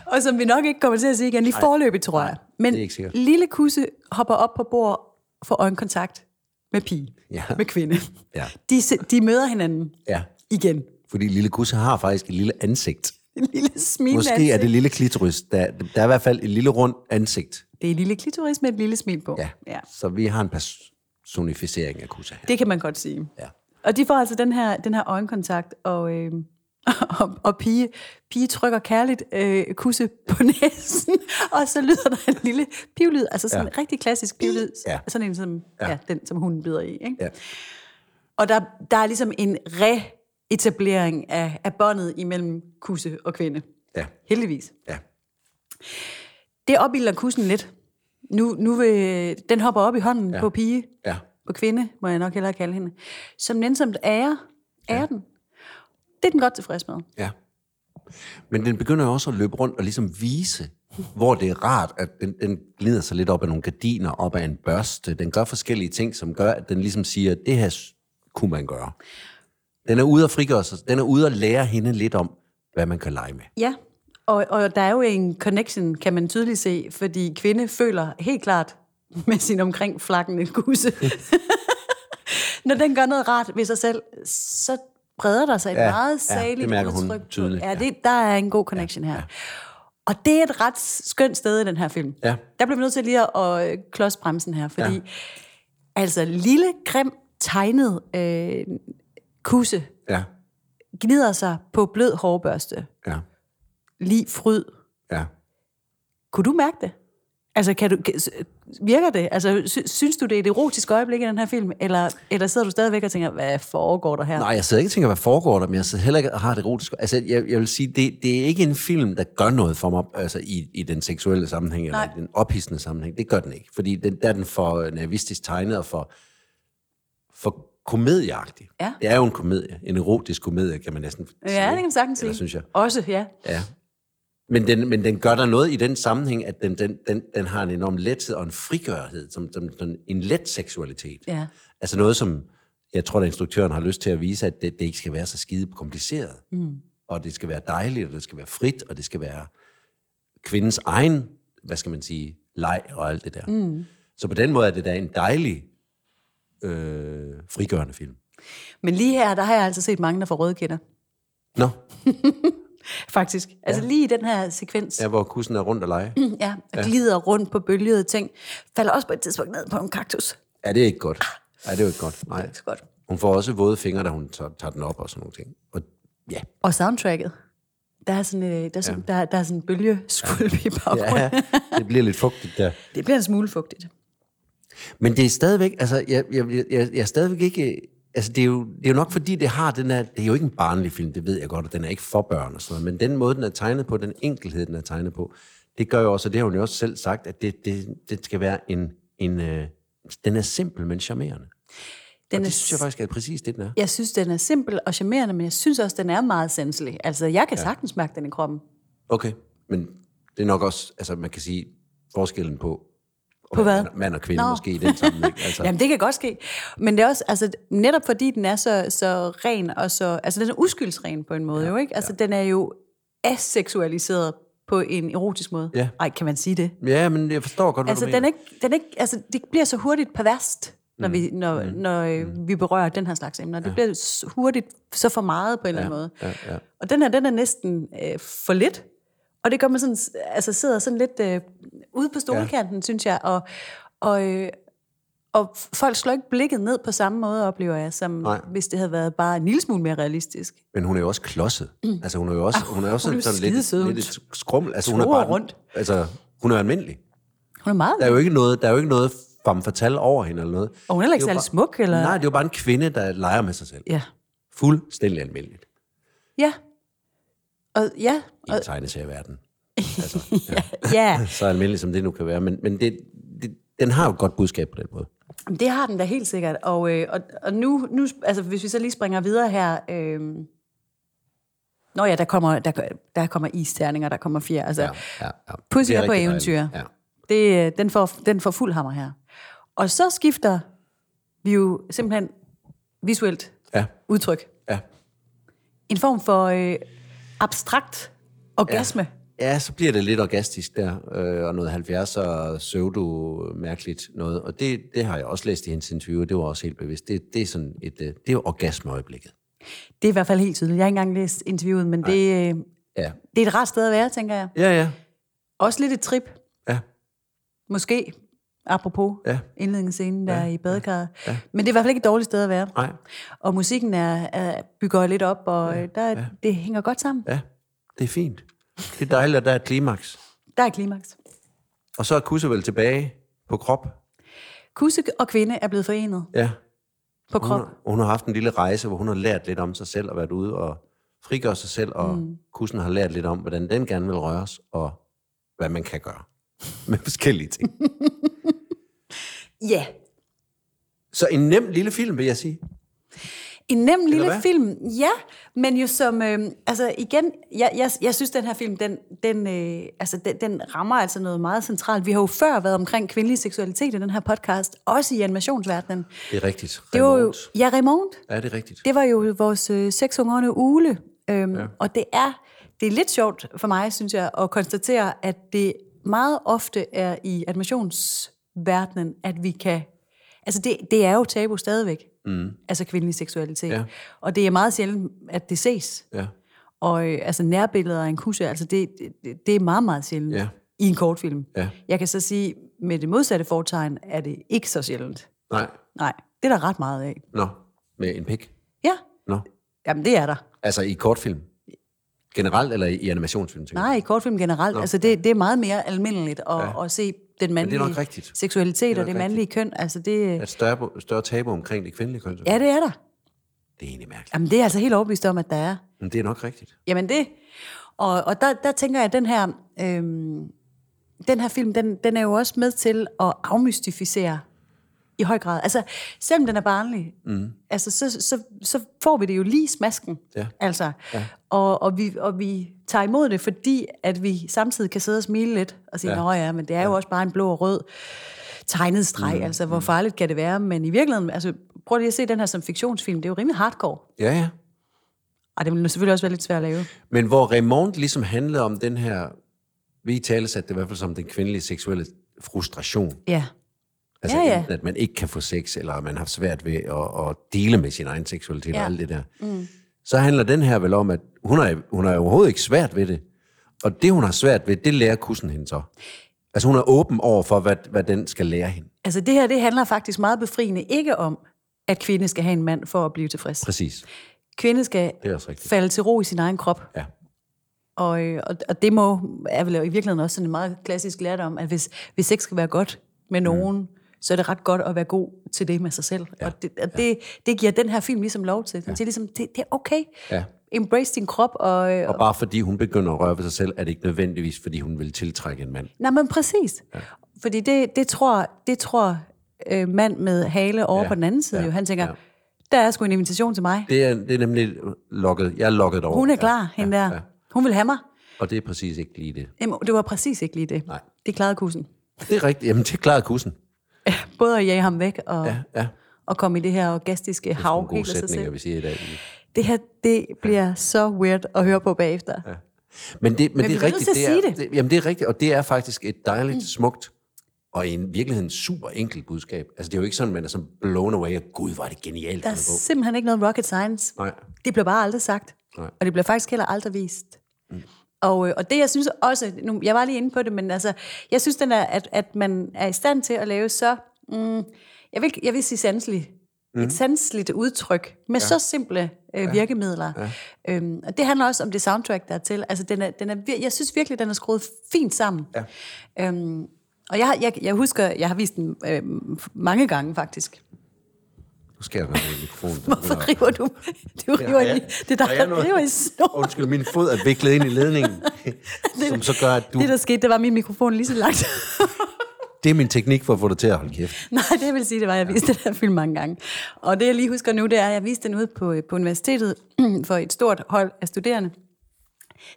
Speaker 2: Og som vi nok ikke kommer til at sige igen lige forløbig, tror jeg. Men
Speaker 1: det er ikke sikkert.
Speaker 2: lille kusse hopper op på bord for øjenkontakt med pige,
Speaker 1: Ja.
Speaker 2: med kvinde.
Speaker 1: Ja.
Speaker 2: De, se- de møder hinanden
Speaker 1: Ja,
Speaker 2: igen.
Speaker 1: fordi lille kusse har faktisk et lille ansigt.
Speaker 2: En lille smil.
Speaker 1: Måske er det lille klitoris. Der, der er i hvert fald et lille rundt ansigt.
Speaker 2: det er en lille klitoris med et lille smil på.
Speaker 1: Ja.
Speaker 2: ja.
Speaker 1: Så vi har en personificering af kusse her.
Speaker 2: Det kan man godt sige.
Speaker 1: Ja.
Speaker 2: Og de får altså den her, den her øjenkontakt, og, øh, (laughs) og, og pige, pige trykker kærligt øh, kusse på næsen, (laughs) og så lyder der en lille pivlyd, altså sådan ja. en rigtig klassisk pivlyd, ja.
Speaker 1: Ja.
Speaker 2: sådan en, som, ja.
Speaker 1: Ja.
Speaker 2: Ja, den, som hunden bider i. Ikke?
Speaker 1: Ja.
Speaker 2: Og der, der er ligesom en reetablering af, af båndet imellem kusse og kvinde.
Speaker 1: Ja.
Speaker 2: Heldigvis.
Speaker 1: Ja.
Speaker 2: Det opbilder kussen lidt. Nu, nu vil, den hopper op i hånden ja. på pige,
Speaker 1: Ja.
Speaker 2: på kvinde, må jeg nok hellere kalde hende, som nænsomt ærer, ærer ja. den. Det er den godt tilfreds med.
Speaker 1: Ja. Men den begynder jo også at løbe rundt og ligesom vise, hvor det er rart, at den, den glider sig lidt op af nogle gardiner, op af en børste. Den gør forskellige ting, som gør, at den ligesom siger, at det her s- kunne man gøre. Den er ude at frigøre sig. Den er ude at lære hende lidt om, hvad man kan lege med.
Speaker 2: Ja, og, og der er jo en connection, kan man tydeligt se, fordi kvinde føler helt klart med sin omkring flakkende
Speaker 1: (laughs)
Speaker 2: kusse. Når den gør noget rart ved sig selv, så breder der sig et ja,
Speaker 1: Ja,
Speaker 2: meget
Speaker 1: ja, det
Speaker 2: saligt
Speaker 1: mærker hun
Speaker 2: udtryk. på-
Speaker 1: tydeligt,
Speaker 2: ja,
Speaker 1: ja.
Speaker 2: det, der er en god connection her. Og det er et ret skønt sted i den her film.
Speaker 1: Ja.
Speaker 2: Der bliver vi nødt til lige at, at øh, klods bremsen her, fordi ja. altså lille, grim, tegnet øh, kusse
Speaker 1: Ja,
Speaker 2: gnider sig på blød hårbørste,
Speaker 1: ja,
Speaker 2: lige fryd,
Speaker 1: ja.
Speaker 2: kunne du mærke det? Altså, kan du, kan- s- virker det? Altså, sy- synes du, det er et erotisk øjeblik i den her film? Eller, eller sidder du stadigvæk og tænker, hvad foregår der her?
Speaker 1: Nej, jeg sidder ikke og tænker, hvad foregår der, men jeg sidder heller ikke og har det erotisk. Altså, jeg, jeg vil sige, det, det er ikke en film, der gør noget for mig altså, i, i den seksuelle sammenhæng, eller
Speaker 2: Nej.
Speaker 1: i den ophidsende sammenhæng. Det gør den ikke, fordi den, der er den for nervistisk tegnet og for, for komedieagtig.
Speaker 2: Ja.
Speaker 1: Det er jo en komedie, en erotisk komedie, kan man næsten sige.
Speaker 2: Ja, det kan man sagtens
Speaker 1: Eller
Speaker 2: sige.
Speaker 1: synes jeg.
Speaker 2: Også, ja.
Speaker 1: Ja. Men den, men den gør der noget i den sammenhæng, at den, den, den, den har en enorm lethed og en frigørhed, som, som, som en let seksualitet.
Speaker 2: Ja.
Speaker 1: Altså noget, som jeg tror, at instruktøren har lyst til at vise, at det, det ikke skal være så skide kompliceret. Mm. Og det skal være dejligt, og det skal være frit, og det skal være kvindens egen, hvad skal man sige, leg og alt det der. Mm. Så på den måde er det da en dejlig øh, frigørende film.
Speaker 2: Men lige her, der har jeg altså set mange, der får røde kinder.
Speaker 1: Nå,
Speaker 2: Faktisk. Altså lige i den her sekvens.
Speaker 1: der hvor kussen er rundt og lege.
Speaker 2: Ja, og glider rundt på bølgede ting. Falder også på et tidspunkt ned på en kaktus.
Speaker 1: Er det er ikke godt? Er det er jo ikke godt? Nej.
Speaker 2: Så godt.
Speaker 1: Hun får også våde fingre, da hun tager, tager den op og sådan nogle ting. Og ja,
Speaker 2: Og soundtracket. Der er sådan, øh, der er sådan, ja. der, der er sådan en bølgeskulp i baggrunden.
Speaker 1: ja
Speaker 2: Ja.
Speaker 1: (laughs) det bliver lidt fugtigt der.
Speaker 2: Det bliver en smule fugtigt.
Speaker 1: Men det er stadigvæk, altså, jeg, jeg, jeg, jeg jeg er stadigvæk ikke, altså, det er, jo, det er jo nok fordi, det har den her, det er jo ikke en barnlig film, det ved jeg godt, og den er ikke for børn og sådan noget, men den måde, den er tegnet på, den enkelhed, den er tegnet på, det gør jo også, og det har hun jo også selv sagt, at det, det, det skal være en, en øh, den er simpel, men charmerende.
Speaker 2: Den
Speaker 1: Det
Speaker 2: er,
Speaker 1: synes jeg faktisk er præcis det, den er.
Speaker 2: jeg synes, den er simpel og charmerende, men jeg synes også, den er meget sanselig. Altså, jeg kan ja. sagtens mærke den i kroppen.
Speaker 1: Okay, men det er nok også, altså, man kan sige, forskellen på,
Speaker 2: På hvad?
Speaker 1: mand- mand og kvinde
Speaker 2: Nå.
Speaker 1: måske i den
Speaker 2: (laughs)
Speaker 1: sammenhæng. Altså,
Speaker 2: Jamen, det kan godt ske. Men det er også, altså, netop fordi den er så, så ren og så... Altså, den er uskyldsren på en måde ja, jo, ikke? Altså, ja. den er jo aseksualiseret på en erotisk måde.
Speaker 1: Ja.
Speaker 2: Ej, kan man sige det?
Speaker 1: ja, men jeg forstår godt, hvad
Speaker 2: Altså,
Speaker 1: du mener.
Speaker 2: den er ikke, den er ikke, altså, det bliver så hurtigt perverst, når, mm. vi, når, mm. når øh, vi berører den her slags emner. Det ja. bliver s- hurtigt så for meget på en ja. eller anden måde. Ja, ja. Og den her, den er næsten øh, for lidt. Og det gør man sådan, s- altså sidder sådan lidt øh, ude på stolekanten, ja. synes jeg. Og, og, øh, og f- folk slår ikke blikket ned på samme måde, oplever jeg, som
Speaker 1: Nej.
Speaker 2: Nej. hvis det havde været bare en lille smule mere realistisk.
Speaker 1: Men hun er jo også klodset. Mm. Altså, hun er jo også, hun er også
Speaker 2: Ah,
Speaker 1: hun
Speaker 2: hun er jo
Speaker 1: sådan lidt,
Speaker 2: skidesød. Hun
Speaker 1: lidt et skrummel. Altså, hun er
Speaker 2: truer
Speaker 1: bare
Speaker 2: rundt.
Speaker 1: Altså, hun er almindelig.
Speaker 2: Hun er meget...
Speaker 1: Der er jo ikke noget, der er jo ikke noget femme fatale over hende eller noget.
Speaker 2: Og hun er heller ikke
Speaker 1: Det jo
Speaker 2: særlig
Speaker 1: bare-
Speaker 2: smuk, eller...
Speaker 1: Nej, det er jo bare en kvinde, der leger med sig selv.
Speaker 2: Ja.
Speaker 1: Fuldstændig almindeligt
Speaker 2: Ja. Og, ja.
Speaker 1: i en tegneserieverden. Altså,
Speaker 2: Ja.
Speaker 1: så almindeligt som det nu kan være. Men, men det, det, den har jo et godt budskab på den måde.
Speaker 2: Jamen, Det har den da helt sikkert. Og, øh, og, og nu, nu, altså hvis vi så lige springer videre her. Øh... Nå ja, der kommer, der, der kommer isterninger, der kommer fjer. Altså, ja.
Speaker 1: ja, ja.
Speaker 2: Pussy
Speaker 1: Det er
Speaker 2: er på
Speaker 1: rigtig
Speaker 2: eventyr.
Speaker 1: dejligt. Ja.
Speaker 2: Det, øh, den, får, den får fuld hammer her. Og så skifter vi jo simpelthen visuelt
Speaker 1: Ja.
Speaker 2: udtryk.
Speaker 1: Ja.
Speaker 2: En form for øh, abstrakt orgasme. Ja.
Speaker 1: Ja, så bliver det lidt orgastisk der, øh, og noget 70'er pseudo-mærkeligt noget. Og det, det har jeg også læst i hendes interview, og det var også helt bevidst. Det, det er sådan et, øh, det er jo orgasmeøjeblikket.
Speaker 2: Det er i hvert fald helt tydeligt. Jeg har ikke engang læst interviewet, men det, øh,
Speaker 1: Ja.
Speaker 2: det er et rart sted at være, tænker jeg.
Speaker 1: Ja, ja.
Speaker 2: Også lidt et trip.
Speaker 1: Ja,
Speaker 2: Måske, apropos
Speaker 1: Ja.
Speaker 2: ja. indledningsscenen der ja. i badekarret. Ja. Men det er i hvert fald ikke et dårligt sted at være.
Speaker 1: nej.
Speaker 2: Og musikken er, er bygger lidt op, og ja. Der, ja. det hænger godt sammen. Ja.
Speaker 1: Ja, det er fint. Det er dejligt, at der er et klimaks.
Speaker 2: Der er klimaks.
Speaker 1: Og så er Kusse vel tilbage på krop.
Speaker 2: Kusse og kvinde er blevet forenet
Speaker 1: Ja.
Speaker 2: på krop.
Speaker 1: Hun, har- hun har haft en lille rejse, hvor hun har lært lidt om sig selv og været ude og frigøre sig selv, og mm. Kussen har lært lidt om, hvordan den gerne vil røres, og hvad man kan gøre med forskellige ting.
Speaker 2: Ja,
Speaker 1: Så en nem lille film, vil jeg sige.
Speaker 2: en nem lille
Speaker 1: hvad?
Speaker 2: film. Ja, men jo som... Øh, altså igen, jeg, jeg, jeg synes, den her film, den, den, øh, altså, den, den rammer altså noget meget centralt. Vi har jo før været omkring kvindelig seksualitet i den her podcast, også i animationsverdenen.
Speaker 1: Det er rigtigt.
Speaker 2: Det var jo...
Speaker 1: Remote.
Speaker 2: Ja, Raymond.
Speaker 1: Ja, det er rigtigt.
Speaker 2: Det var jo vores øh, sekshungrende ule, øhm, ja. og det er, det er lidt sjovt for mig, synes jeg, at konstatere, at det meget ofte er i animationsverdenen, at vi kan... Altså, det, det er jo tabu stadigvæk, mm. altså kvindelig seksualitet.
Speaker 1: Ja.
Speaker 2: Og det er meget sjældent, at det ses.
Speaker 1: Ja.
Speaker 2: Og øh, altså nærbilleder af en kusse, altså det, det, det er meget, meget sjældent
Speaker 1: Ja.
Speaker 2: i en kortfilm.
Speaker 1: Ja.
Speaker 2: Jeg kan så sige, med det modsatte fortegn er det ikke så sjældent.
Speaker 1: Nej.
Speaker 2: Nej, det er der ret meget af.
Speaker 1: Nå. Med en pik.
Speaker 2: Ja,
Speaker 1: Nå.
Speaker 2: jamen det er der.
Speaker 1: Altså i kortfilm. Generelt eller i animationsfilm? tænker
Speaker 2: Nej, i kortfilm generelt. Altså, det, det er meget mere almindeligt at, ja. at se den mandlige
Speaker 1: nok rigtigt.
Speaker 2: seksualitet det
Speaker 1: nok
Speaker 2: og det
Speaker 1: rigtigt.
Speaker 2: mandlige køn. Altså det,
Speaker 1: Der er et større, større tabu omkring det kvindelige køn.
Speaker 2: ja, det er der.
Speaker 1: Det er egentlig mærkeligt.
Speaker 2: Jamen, det er jeg altså helt overbevist om, at der er.
Speaker 1: Men det er nok rigtigt.
Speaker 2: Jamen det. Og, og der, der tænker jeg, at den her, øhm, den her film, den, den er jo også med til at afmystificere i høj grad. Altså, selvom den er barnlig, mm. altså, så, så, så får vi det jo lige smasken.
Speaker 1: Ja.
Speaker 2: Altså, ja. og, og, vi, og vi tager imod det, fordi at vi samtidig kan sidde og smile lidt og sige,
Speaker 1: Ja.
Speaker 2: ja. nå ja, men det er jo også bare en blå og rød tegnet streg. Mm. Altså, hvor farligt kan det være? Men i virkeligheden, altså, prøv lige at se den her som fiktionsfilm. Det er jo rimelig hardcore.
Speaker 1: Ja, ja.
Speaker 2: Og det vil selvfølgelig også være lidt svært at lave.
Speaker 1: Men hvor Raymond ligesom handlede om den her, vi taler det i hvert fald som den kvindelige seksuelle frustration.
Speaker 2: Ja.
Speaker 1: Altså
Speaker 2: Ja, ja.
Speaker 1: Enten, at man ikke kan få sex, eller at man har svært ved at, at dele med sin egen seksualitet ja. og
Speaker 2: Ja.
Speaker 1: alt det der. Mm. Så handler den her vel om, at hun er, hun er overhovedet ikke svært ved det. Og det, hun har svært ved, det lærer kussen hende så. Altså hun er åben over for, hvad, hvad den skal lære hende.
Speaker 2: Altså det her, det handler faktisk meget befriende ikke om, at kvinde skal have en mand for at blive tilfreds.
Speaker 1: Præcis.
Speaker 2: Kvinde skal
Speaker 1: Det er også rigtigt.
Speaker 2: falde til ro i sin egen krop.
Speaker 1: Ja.
Speaker 2: Og, øh, og, og det må, er vel i virkeligheden også sådan en meget klassisk lærdom, at hvis, hvis sex skal være godt med nogen, mm. så er det ret godt at være god til det med sig selv. Ja. Og, det, og ja. det, det giver den her film ligesom lov til. Den siger ligesom, det, det er okay.
Speaker 1: Ja.
Speaker 2: Embrace din krop. Og, øh,
Speaker 1: Og bare fordi hun begynder at røre ved sig selv, er det ikke nødvendigvis, fordi hun vil tiltrække en mand.
Speaker 2: Nej, men præcis. Ja. Fordi det, det tror, det tror øh, mand med hale over
Speaker 1: Ja,
Speaker 2: ja. på den anden side
Speaker 1: ja,
Speaker 2: ja. jo. Han tænker,
Speaker 1: ja.
Speaker 2: ja. der er sgu en invitation til mig.
Speaker 1: Det er, det er nemlig lukket. Jeg er lukket over.
Speaker 2: Hun er klar, ja, hende der. Ja. Hun vil have mig.
Speaker 1: Og det er præcis ikke lige det.
Speaker 2: Jamen, det var præcis ikke lige det.
Speaker 1: Nej.
Speaker 2: Det klarede kussen.
Speaker 1: Det er rigtigt. Jamen, det er klaret kussen.
Speaker 2: Både at jage ham væk og, ja.
Speaker 1: Ja, ja.
Speaker 2: og komme i det her orgastiske hav
Speaker 1: Nogle gode
Speaker 2: helt af sig
Speaker 1: sætninger,
Speaker 2: selv.
Speaker 1: vi siger i dag.
Speaker 2: Det her, det bliver så weird at høre på bagefter. Ja.
Speaker 1: Men det, men
Speaker 2: vi
Speaker 1: det er
Speaker 2: bliver nødt
Speaker 1: rigtigt.
Speaker 2: til at
Speaker 1: Det er,
Speaker 2: sige det.
Speaker 1: det. Jamen, det er rigtigt, og det er faktisk et dejligt, smukt og i en virkeligheden super enkelt budskab. Altså, det er jo ikke sådan, man er sådan blown away, og gud, var det genialt.
Speaker 2: Der er simpelthen ikke noget rocket science.
Speaker 1: Nej.
Speaker 2: Det bliver bare aldrig sagt.
Speaker 1: Nej.
Speaker 2: Og det bliver faktisk heller aldrig vist. Og, øh, og det, jeg synes også, nu, jeg var lige inde på det, men altså, jeg synes, den er, at, at man er i stand til at lave så, mm, jeg, vil, jeg vil sige sanselig, mm. et sanseligt udtryk, med ja. så simple øh, virkemidler. Ja. Øhm, og det handler også om det soundtrack, der er til. Altså, den er, den er, vir- jeg synes virkelig, den er skruet fint sammen. Ja. Øhm, og jeg, har- jeg, jeg husker, jeg har vist den øh, mange gange faktisk.
Speaker 1: Nu skal jeg have mikrofonen.
Speaker 2: (laughs) Hvorfor river du? Du river
Speaker 1: ja.
Speaker 2: ja, ja. Det er dig,
Speaker 1: Har jeg
Speaker 2: der
Speaker 1: noget?
Speaker 2: river i snor.
Speaker 1: Undskyld, min fod er viklet ind i ledningen, som så gør, at du...
Speaker 2: (laughs) Det, der skete, det var at min mikrofon lige så langt. (laughs)
Speaker 1: Det er min teknik for at få dig til at holde kæft.
Speaker 2: Nej, det vil sige, det var, at jeg viste den her film mange gange. Og det, jeg lige husker nu, det er, at jeg viste den ud på, øh, på universitetet (clears throat) for et stort hold af studerende.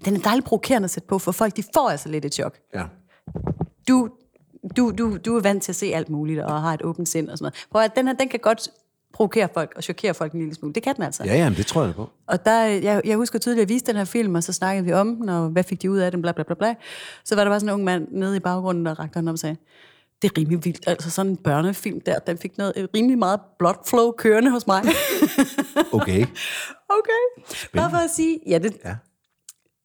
Speaker 2: Den er dejligt provokerende at sætte på, for folk, de får altså lidt et chok.
Speaker 1: Ja.
Speaker 2: Du, du, du, du er vant til at se alt muligt, og har et åbent sind og sådan noget. For at den her, den kan godt provokere folk og chokere folk en lille smule. Det kan den altså.
Speaker 1: Ja, ja, men det tror jeg da på.
Speaker 2: Og der, øh, jeg, jeg husker tydeligt, at jeg viste den her film, og så snakkede vi om den, og hvad fik de ud af den, bla bla bla bla. Så var der bare sådan en ung mand nede i baggrunden, der rakte hånden om og sagde, det er rimelig vildt, altså sådan en børnefilm der, den fik noget øh, rimelig meget blood flow kørende hos mig. (laughs)
Speaker 1: Okay.
Speaker 2: okay, bare for at sige, ja det,
Speaker 1: Ja.
Speaker 2: ja.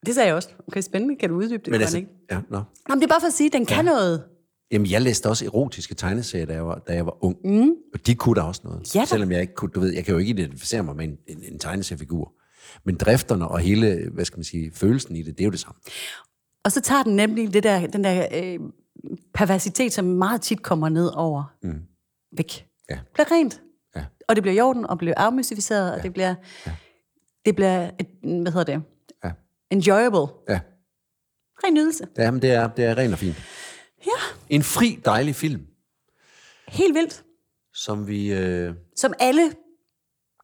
Speaker 2: det sagde jeg også. Okay, spændende, kan du uddybe det?
Speaker 1: Men
Speaker 2: Men
Speaker 1: altså,
Speaker 2: ikke?
Speaker 1: ja, no.
Speaker 2: Jamen, det er bare for at sige, den kan noget.
Speaker 1: Jamen, jeg læste også erotiske tegneserier, da jeg var, da jeg var ung. Mm. Og de kunne da også noget.
Speaker 2: Ja da.
Speaker 1: Selvom jeg ikke kunne, du ved, jeg kan jo ikke identificere mig med en, en, en tegneseriefigur. Men drifterne og hele, hvad skal man sige, følelsen i det, det er jo det samme.
Speaker 2: Og så tager den nemlig det der, den der øh, perversitet, som meget tit kommer ned over. Mm. Væk.
Speaker 1: Ja.
Speaker 2: Det bliver rent.
Speaker 1: Ja.
Speaker 2: Og det bliver i orden, og bliver afmystificeret, og det bliver, ja. det bliver et, hvad hedder det?
Speaker 1: Ja.
Speaker 2: Enjoyable.
Speaker 1: Ja,
Speaker 2: Ren nydelse.
Speaker 1: ja men det er, det er ren og fint.
Speaker 2: Ja,
Speaker 1: En fri, dejlig film,
Speaker 2: helt vildt.
Speaker 1: som vi øh,
Speaker 2: Som alle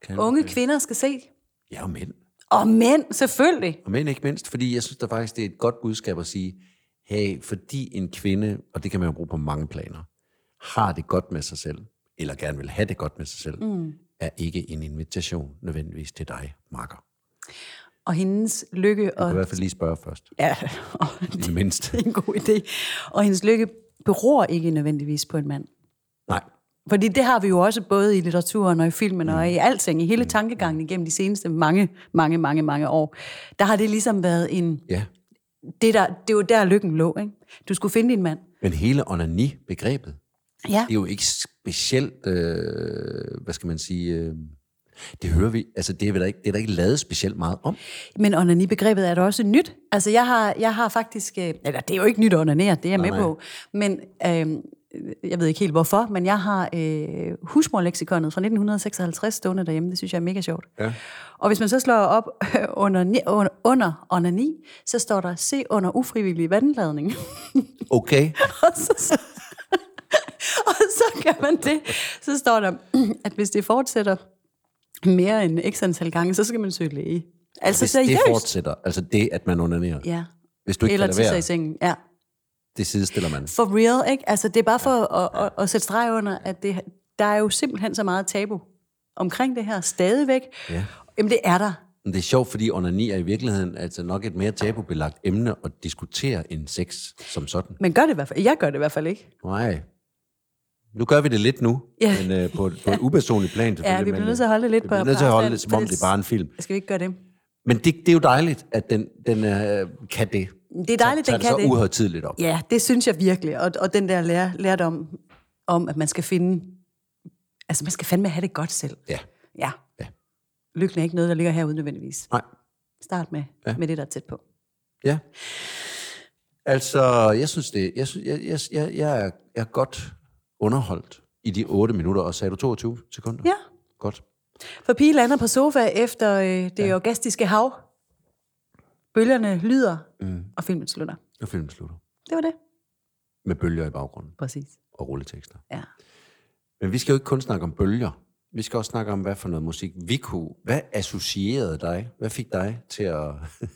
Speaker 1: kan...
Speaker 2: unge kvinder skal se.
Speaker 1: Ja, og mænd.
Speaker 2: Og mænd, selvfølgelig.
Speaker 1: Og mænd ikke mindst, fordi jeg synes da faktisk, det er et godt budskab at sige, hey, fordi en kvinde, og det kan man jo bruge på mange planer, har det godt med sig selv, eller gerne vil have det godt med sig selv, mm. er ikke en invitation nødvendigvis til dig, makker. Du
Speaker 2: Og hendes lykke
Speaker 1: kan i
Speaker 2: og...
Speaker 1: hvert fald lige spørge først,
Speaker 2: Ja, (laughs) og
Speaker 1: i det mindste. (laughs)
Speaker 2: det er en god idé. Og hendes lykke beror ikke nødvendigvis på en mand.
Speaker 1: Nej,
Speaker 2: Fordi det har vi jo også både i litteraturen og i filmen og i alting, i hele tankegangen igennem de seneste mange, mange, mange, mange år. Der har det ligesom været en...
Speaker 1: ja.
Speaker 2: Det, der, det var der, lykken lå, ikke? Du skulle finde din mand.
Speaker 1: Men hele onani-begrebet,
Speaker 2: Ja,
Speaker 1: det er jo ikke specielt, øh, hvad skal man sige, øh, Det hører vi. Altså, det er, vel der ikke, det er der ikke lavet specielt meget om.
Speaker 2: Men onani-begrebet er da også nyt. Altså, jeg har, jeg har faktisk... øh, Eller, det er jo ikke nyt at onanere, det er jeg med
Speaker 1: nej.
Speaker 2: på. Men øh, jeg ved ikke helt hvorfor, men jeg har øh, husmorleksikonet fra 1956 stående derhjemme. Det synes jeg er mega sjovt. Ja. Og hvis man så slår op (laughs) under, ni- under, under onani, så står der, se under ufrivillig vandladning. (laughs)
Speaker 1: Okay.
Speaker 2: og, (laughs) så, så, og så gør man det. Så står der, (clears throat) at hvis det fortsætter mere end x antal gange, så skal man søge læge. Altså
Speaker 1: Hvis det
Speaker 2: seriøst.
Speaker 1: fortsætter, altså det, at man onanerer.
Speaker 2: Ja.
Speaker 1: Hvis du ikke
Speaker 2: Eller
Speaker 1: kan
Speaker 2: tisser i
Speaker 1: lade være,
Speaker 2: sengen, ja.
Speaker 1: det sidestiller man.
Speaker 2: For real, ikke? Altså, det er bare for at, at, at sætte streg under, at det, der er jo simpelthen så meget tabu omkring det her stadigvæk.
Speaker 1: Ja.
Speaker 2: Jamen, det er der.
Speaker 1: Men det er sjovt, fordi onani er i virkeligheden altså nok et mere tabubelagt emne at diskutere end sex som sådan.
Speaker 2: Men gør det i hvert fald. Jeg gør det i hvert fald ikke.
Speaker 1: Nej. Nu gør vi det lidt nu,
Speaker 2: (laughs) Ja.
Speaker 1: men øh, på, et- på et upersonligt plan selvfølgelig.
Speaker 2: vi bliver
Speaker 1: men,
Speaker 2: nødt til at holde det lidt
Speaker 1: vi
Speaker 2: på
Speaker 1: bliver nødt til at holde
Speaker 2: afstand,
Speaker 1: det, som om
Speaker 2: fordi
Speaker 1: det er bare en film.
Speaker 2: Skal vi ikke gøre det?
Speaker 1: Men det, det er jo dejligt, at den, den øh, kan det.
Speaker 2: Det er dejligt,
Speaker 1: så,
Speaker 2: den kan
Speaker 1: så
Speaker 2: det.
Speaker 1: uhøjtidligt op.
Speaker 2: Ja, det synes jeg virkelig. Og, og den der lære, lærdom om, at man skal finde... Altså, man skal fandme have det godt selv.
Speaker 1: Ja.
Speaker 2: Ja.
Speaker 1: Ja.
Speaker 2: Lykken er ikke noget, der ligger herude nødvendigvis.
Speaker 1: Nej.
Speaker 2: Start med, ja. med det, der er tæt på.
Speaker 1: Ja. Altså, jeg synes det. Jeg, synes, jeg, jeg, jeg, jeg, er, jeg er godt underholdt i de 8 minutter, og sagde du 22 sekunder?
Speaker 2: Ja.
Speaker 1: Godt.
Speaker 2: For pige lander på sofa efter øh, det ja. orgastiske hav. Bølgerne lyder, mm. og filmen slutter.
Speaker 1: Og filmen slutter.
Speaker 2: Det var det.
Speaker 1: Med bølger i baggrunden
Speaker 2: Præcis.
Speaker 1: og rulletekster.
Speaker 2: Ja.
Speaker 1: Men vi skal jo ikke kun snakke om bølger. Vi skal også snakke om, hvad for noget musik vi kunne. Hvad associerede dig? Hvad fik dig til at...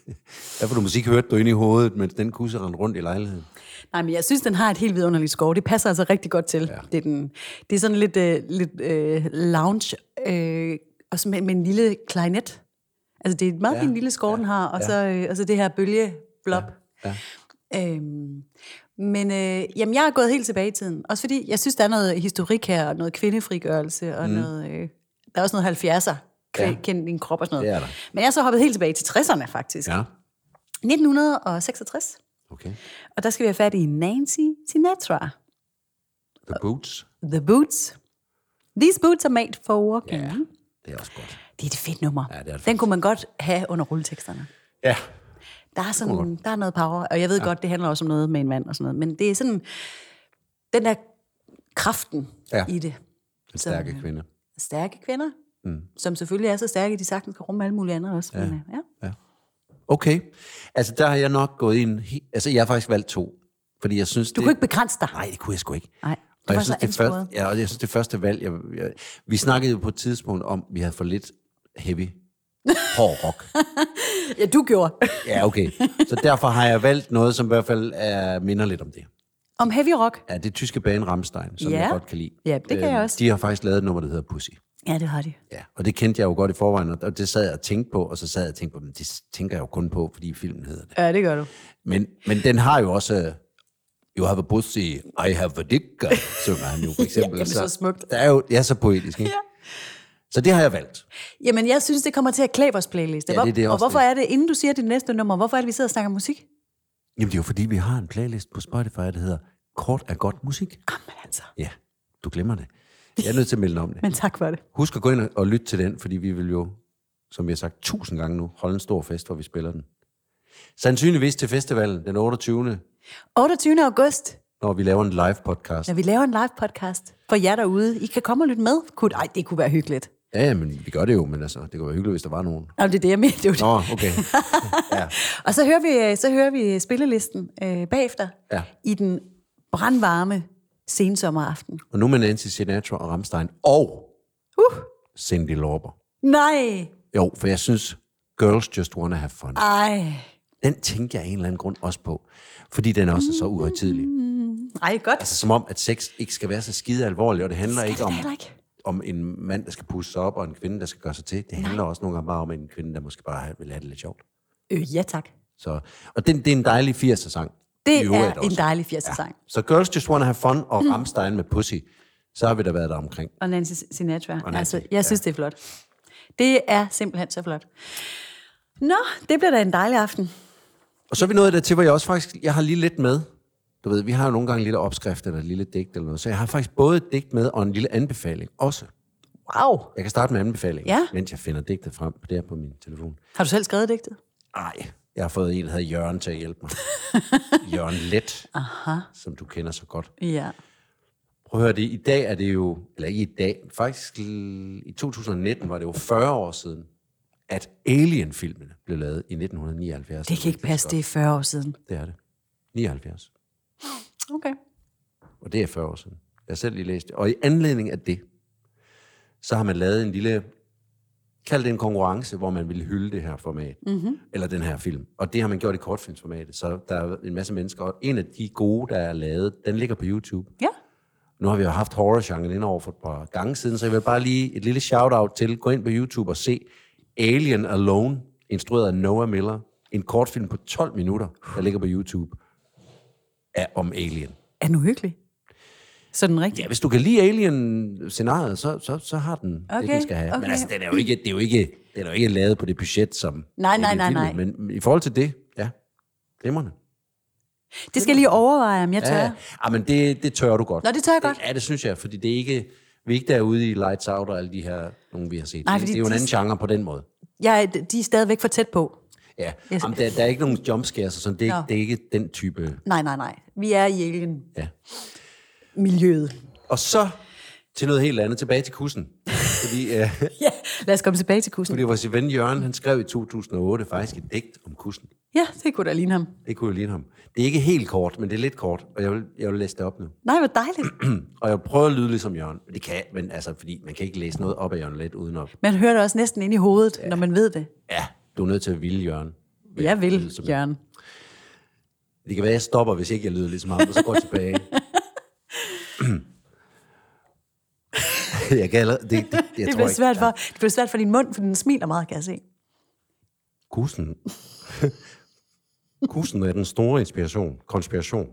Speaker 1: (laughs) hvad for noget musik hørte du ind i hovedet, mens den kusse rendte rundt i lejligheden?
Speaker 2: Nej, men jeg synes, den har et helt vidunderligt skov. Det passer altså rigtig godt til. Ja. Det, er den, det er sådan lidt, øh, lidt øh, lounge, øh, og så med, med en lille klarinet. Altså, det er et meget ja. fint lille skov, ja. den har, og, ja. så, øh, og så det her bølgeblop.
Speaker 1: Ja.
Speaker 2: Øhm, men øh, jamen, jeg er gået helt tilbage i tiden. Også fordi, jeg synes, der er noget historik her, og noget kvindefrigørelse, og mm. noget, øh, der er også noget 70'er, kvæ-
Speaker 1: Ja.
Speaker 2: ja. kend din krop og sådan noget.
Speaker 1: Det er der.
Speaker 2: Men jeg er så hoppet helt tilbage til 60'erne, faktisk. Ja.
Speaker 1: Ja,
Speaker 2: 1966.
Speaker 1: okay.
Speaker 2: Og der skal vi have fat i Nancy Sinatra.
Speaker 1: The Boots.
Speaker 2: The Boots. These boots are made for walking.
Speaker 1: Ja,
Speaker 2: Yeah.
Speaker 1: det er også godt.
Speaker 2: Det er et fedt nummer.
Speaker 1: Ja, det er det
Speaker 2: Den
Speaker 1: faktisk.
Speaker 2: kunne man godt have under rulleteksterne.
Speaker 1: Ja.
Speaker 2: Der er, sådan, der er noget power, og jeg ved ja. godt, det handler også om noget med en mand og sådan noget, men det er sådan den der kraften
Speaker 1: Ja.
Speaker 2: ja. i det.
Speaker 1: Den stærke kvinde.
Speaker 2: Stærke kvinder, mm. som selvfølgelig er så stærke, at de sagtens kan rumme alle mulige andre også. Ja. Men, øh, ja.
Speaker 1: Okay. Altså, der har jeg nok gået ind... he- Altså, jeg har faktisk valgt to. Fordi jeg synes,
Speaker 2: Du
Speaker 1: det...
Speaker 2: kunne ikke begrænse dig.
Speaker 1: Nej, det kunne jeg sgu ikke.
Speaker 2: Nej, du
Speaker 1: Og
Speaker 2: var
Speaker 1: jeg,
Speaker 2: så
Speaker 1: synes, det
Speaker 2: ansporet.
Speaker 1: første, ja, og jeg synes, det første valg... Jeg, jeg, vi snakkede jo på et tidspunkt om, at vi havde for lidt heavy, hård
Speaker 2: (laughs)
Speaker 1: rock.
Speaker 2: Ja, du gjorde.
Speaker 1: Ja, okay. Så derfor har jeg valgt noget, som i hvert fald er, minder lidt om det.
Speaker 2: om heavy rock.
Speaker 1: Ja, det tyske band Rammstein, som
Speaker 2: Ja.
Speaker 1: jeg godt kan lide.
Speaker 2: Ja, det kan
Speaker 1: Øhm,
Speaker 2: jeg også.
Speaker 1: De har faktisk lavet et nummer, der hedder Pussy.
Speaker 2: Ja, det har de.
Speaker 1: Ja, og det kendte jeg jo godt i forvejen, og- og det sad jeg og tænkte på, og så sad jeg og tænkte på, men det tænker jeg jo kun på, fordi filmen hedder det.
Speaker 2: Ja, det gør du.
Speaker 1: Men, men den har jo også, øh, you have a pussy, I have a dick, som han jo for eksempel.
Speaker 2: (laughs) Ja, det er så smukt.
Speaker 1: Der er jo, det er så poetisk, ikke? ja. Så det har jeg valgt.
Speaker 2: Jamen, jeg synes, det kommer til at klæde vores playlist.
Speaker 1: Ja, det er det
Speaker 2: og
Speaker 1: også
Speaker 2: hvorfor er det, inden du siger dit næste nummer, hvorfor er det, vi sidder og snakker musik?
Speaker 1: Jamen det er jo fordi, vi har en playlist på Spotify, der hedder Kort er godt musik.
Speaker 2: Jamen altså.
Speaker 1: Ja, du glemmer det. Jeg er nødt til at melde dig om det.
Speaker 2: Men tak for det.
Speaker 1: Husk at gå ind og- og lytte til den, fordi vi vil jo, som vi har sagt tusind gange nu, holde en stor fest, hvor vi spiller den. Sandsynligvis til festivalen den 28.
Speaker 2: 28. august,
Speaker 1: når vi laver en live podcast.
Speaker 2: når vi laver en live podcast for jer derude. I kan komme og lytte med. Kunne, ej, det kunne være hyggeligt.
Speaker 1: Ja, ja, men vi gør det jo, men altså, det kunne være hyggeligt, hvis der var nogen.
Speaker 2: Nå, det er det, jeg mener. Det er jo det.
Speaker 1: Nå, okay. (laughs) ja.
Speaker 2: (laughs) Og så hører vi, øh, så hører vi spillelisten øh, bagefter
Speaker 1: Ja.
Speaker 2: i den brandvarme sensommeraften.
Speaker 1: Og nu med Nancy Sinatra og Rammstein og
Speaker 2: Uh,
Speaker 1: Cindy Lauper.
Speaker 2: nej,
Speaker 1: Jo, for jeg synes, Girls Just Wanna Have Fun.
Speaker 2: ej.
Speaker 1: Den tænkte jeg af en eller anden grund også på, fordi den også er så uhøjtidelig.
Speaker 2: Ej, godt.
Speaker 1: Altså, som om, at sex ikke skal være så skide alvorligt, og det handler ikke
Speaker 2: Det er
Speaker 1: om...
Speaker 2: heller ikke.
Speaker 1: om en mand, der skal pusse sig op, og en kvinde, der skal gøre sig til. Det handler Nej. også nogle gange bare om en kvinde, der måske bare have- vil have det lidt sjovt.
Speaker 2: Øh, ja, tak.
Speaker 1: Så, og det, det er en dejlig 80'er sang.
Speaker 2: Det
Speaker 1: I øvrigt
Speaker 2: er en
Speaker 1: også.
Speaker 2: dejlig 80'er sang.
Speaker 1: Så Girls Just Wanna Have Fun og mm. Rammstein med Pussy, så har vi da været der omkring.
Speaker 2: og Nancy Sinatra.
Speaker 1: Nancy,
Speaker 2: altså, jeg synes, ja. det er flot. Det er simpelthen så flot. Nå, det bliver da en dejlig aften.
Speaker 1: Og så er vi nået dertil, hvor jeg også faktisk, jeg har lige lidt med. Du ved, vi har jo nogle gange en lille opskrift eller en lille digt eller noget, så jeg har faktisk både et digt med og en lille anbefaling også.
Speaker 2: Wow.
Speaker 1: Jeg kan starte med anbefalingen,
Speaker 2: Ja.
Speaker 1: mens jeg finder digtet frem. Det er på min telefon.
Speaker 2: Har du selv skrevet digtet?
Speaker 1: Nej, jeg har fået en, der hedder Jørgen, til at hjælpe
Speaker 2: (laughs)
Speaker 1: mig. Jørgen Let, Aha. som du kender så godt.
Speaker 2: Ja.
Speaker 1: Prøv at høre det. I dag er det jo, eller ikke i dag, faktisk l- i 2019 var det jo 40 år siden, at Alien-filmene blev lavet i 1979.
Speaker 2: Det kan ikke passe, det er 40 år siden.
Speaker 1: Det er det. 79.
Speaker 2: Okay.
Speaker 1: Og det er 40 år siden. Jeg har selv lige læst det. Og i anledning af det, så har man lavet en lille, kald det en konkurrence, hvor man ville hylde det her format, mm-hmm. eller den her film. Og det har man gjort i kortfilmsformatet. Så der er en masse mennesker, og en af de gode, der er lavet, den ligger på YouTube.
Speaker 2: Ja.
Speaker 1: Nu har vi jo haft horrorgenren ind over for et par gange siden, så jeg vil bare lige et lille shout-out til, gå ind på YouTube og se Alien Alone, instrueret af Noah Miller. En kortfilm på 12 minutter, der ligger på YouTube, er om Alien.
Speaker 2: Er den uhyggelig? Sådan rigtigt?
Speaker 1: Ja, hvis du kan lide Alien-scenariet, så, så, så har den okay, det,
Speaker 2: Okay,
Speaker 1: den skal have.
Speaker 2: okay.
Speaker 1: Men altså, den er jo ikke, det er jo ikke, den er jo ikke lavet på det budget, som...
Speaker 2: Nej, nej,
Speaker 1: Alien
Speaker 2: nej, nej.
Speaker 1: filmen, Men i forhold til det, ja, glimrende.
Speaker 2: Det skal jeg lige overveje, om jeg tør.
Speaker 1: Ja,
Speaker 2: Ja.
Speaker 1: ja, men det, det tør du godt.
Speaker 2: Nå, det tør jeg godt.
Speaker 1: Ja, det synes jeg, fordi det er ikke... Vi er ikke derude i Lights Out og alle de her, nogen vi har set.
Speaker 2: Nej,
Speaker 1: Nej, det,
Speaker 2: fordi
Speaker 1: det er jo en
Speaker 2: de-
Speaker 1: anden genre på den måde.
Speaker 2: Jeg, de er stadigvæk for tæt på.
Speaker 1: Ja,
Speaker 2: Yes.
Speaker 1: Jamen, der, der er ikke nogen jumpscares og sådan. Det er,
Speaker 2: Nå.
Speaker 1: ikke, det er ikke den type...
Speaker 2: Nej, nej, nej. Vi er i alien-miljøet.
Speaker 1: Ja. Og så til noget helt andet. Tilbage til kussen. Fordi... Øh, (laughs)
Speaker 2: Ja, lad os komme tilbage til kussen.
Speaker 1: Fordi vores ven Jørgen, han skrev i 2008 faktisk et digt om kussen.
Speaker 2: Ja, det kunne da ligne ham.
Speaker 1: Det kunne jo ligne ham. Det er ikke helt kort, men det er lidt kort, og jeg vil, jeg vil læse det op nu.
Speaker 2: Nej, hvor dejligt.
Speaker 1: og jeg vil prøve at lyde ligesom Jørgen. Det kan jeg, men altså, fordi man kan ikke læse noget op af Jørgen lidt udenom.
Speaker 2: Man hører det også næsten ind i hovedet, ja. når man ved det.
Speaker 1: Ja, du er nødt til at ville Jørgen.
Speaker 2: Jeg vil,
Speaker 1: lyde som-
Speaker 2: Jørgen.
Speaker 1: Det kan være, jeg stopper, hvis ikke jeg lyder ligesom ham, og så går jeg tilbage. (clears throat) jeg kan allerede, det, det, jeg
Speaker 2: Det
Speaker 1: tror
Speaker 2: bliver,
Speaker 1: ikke-
Speaker 2: svært for, det bliver svært for din mund, for den smiler meget, kan jeg se.
Speaker 1: Kussen. kussen er den store inspiration, konspiration.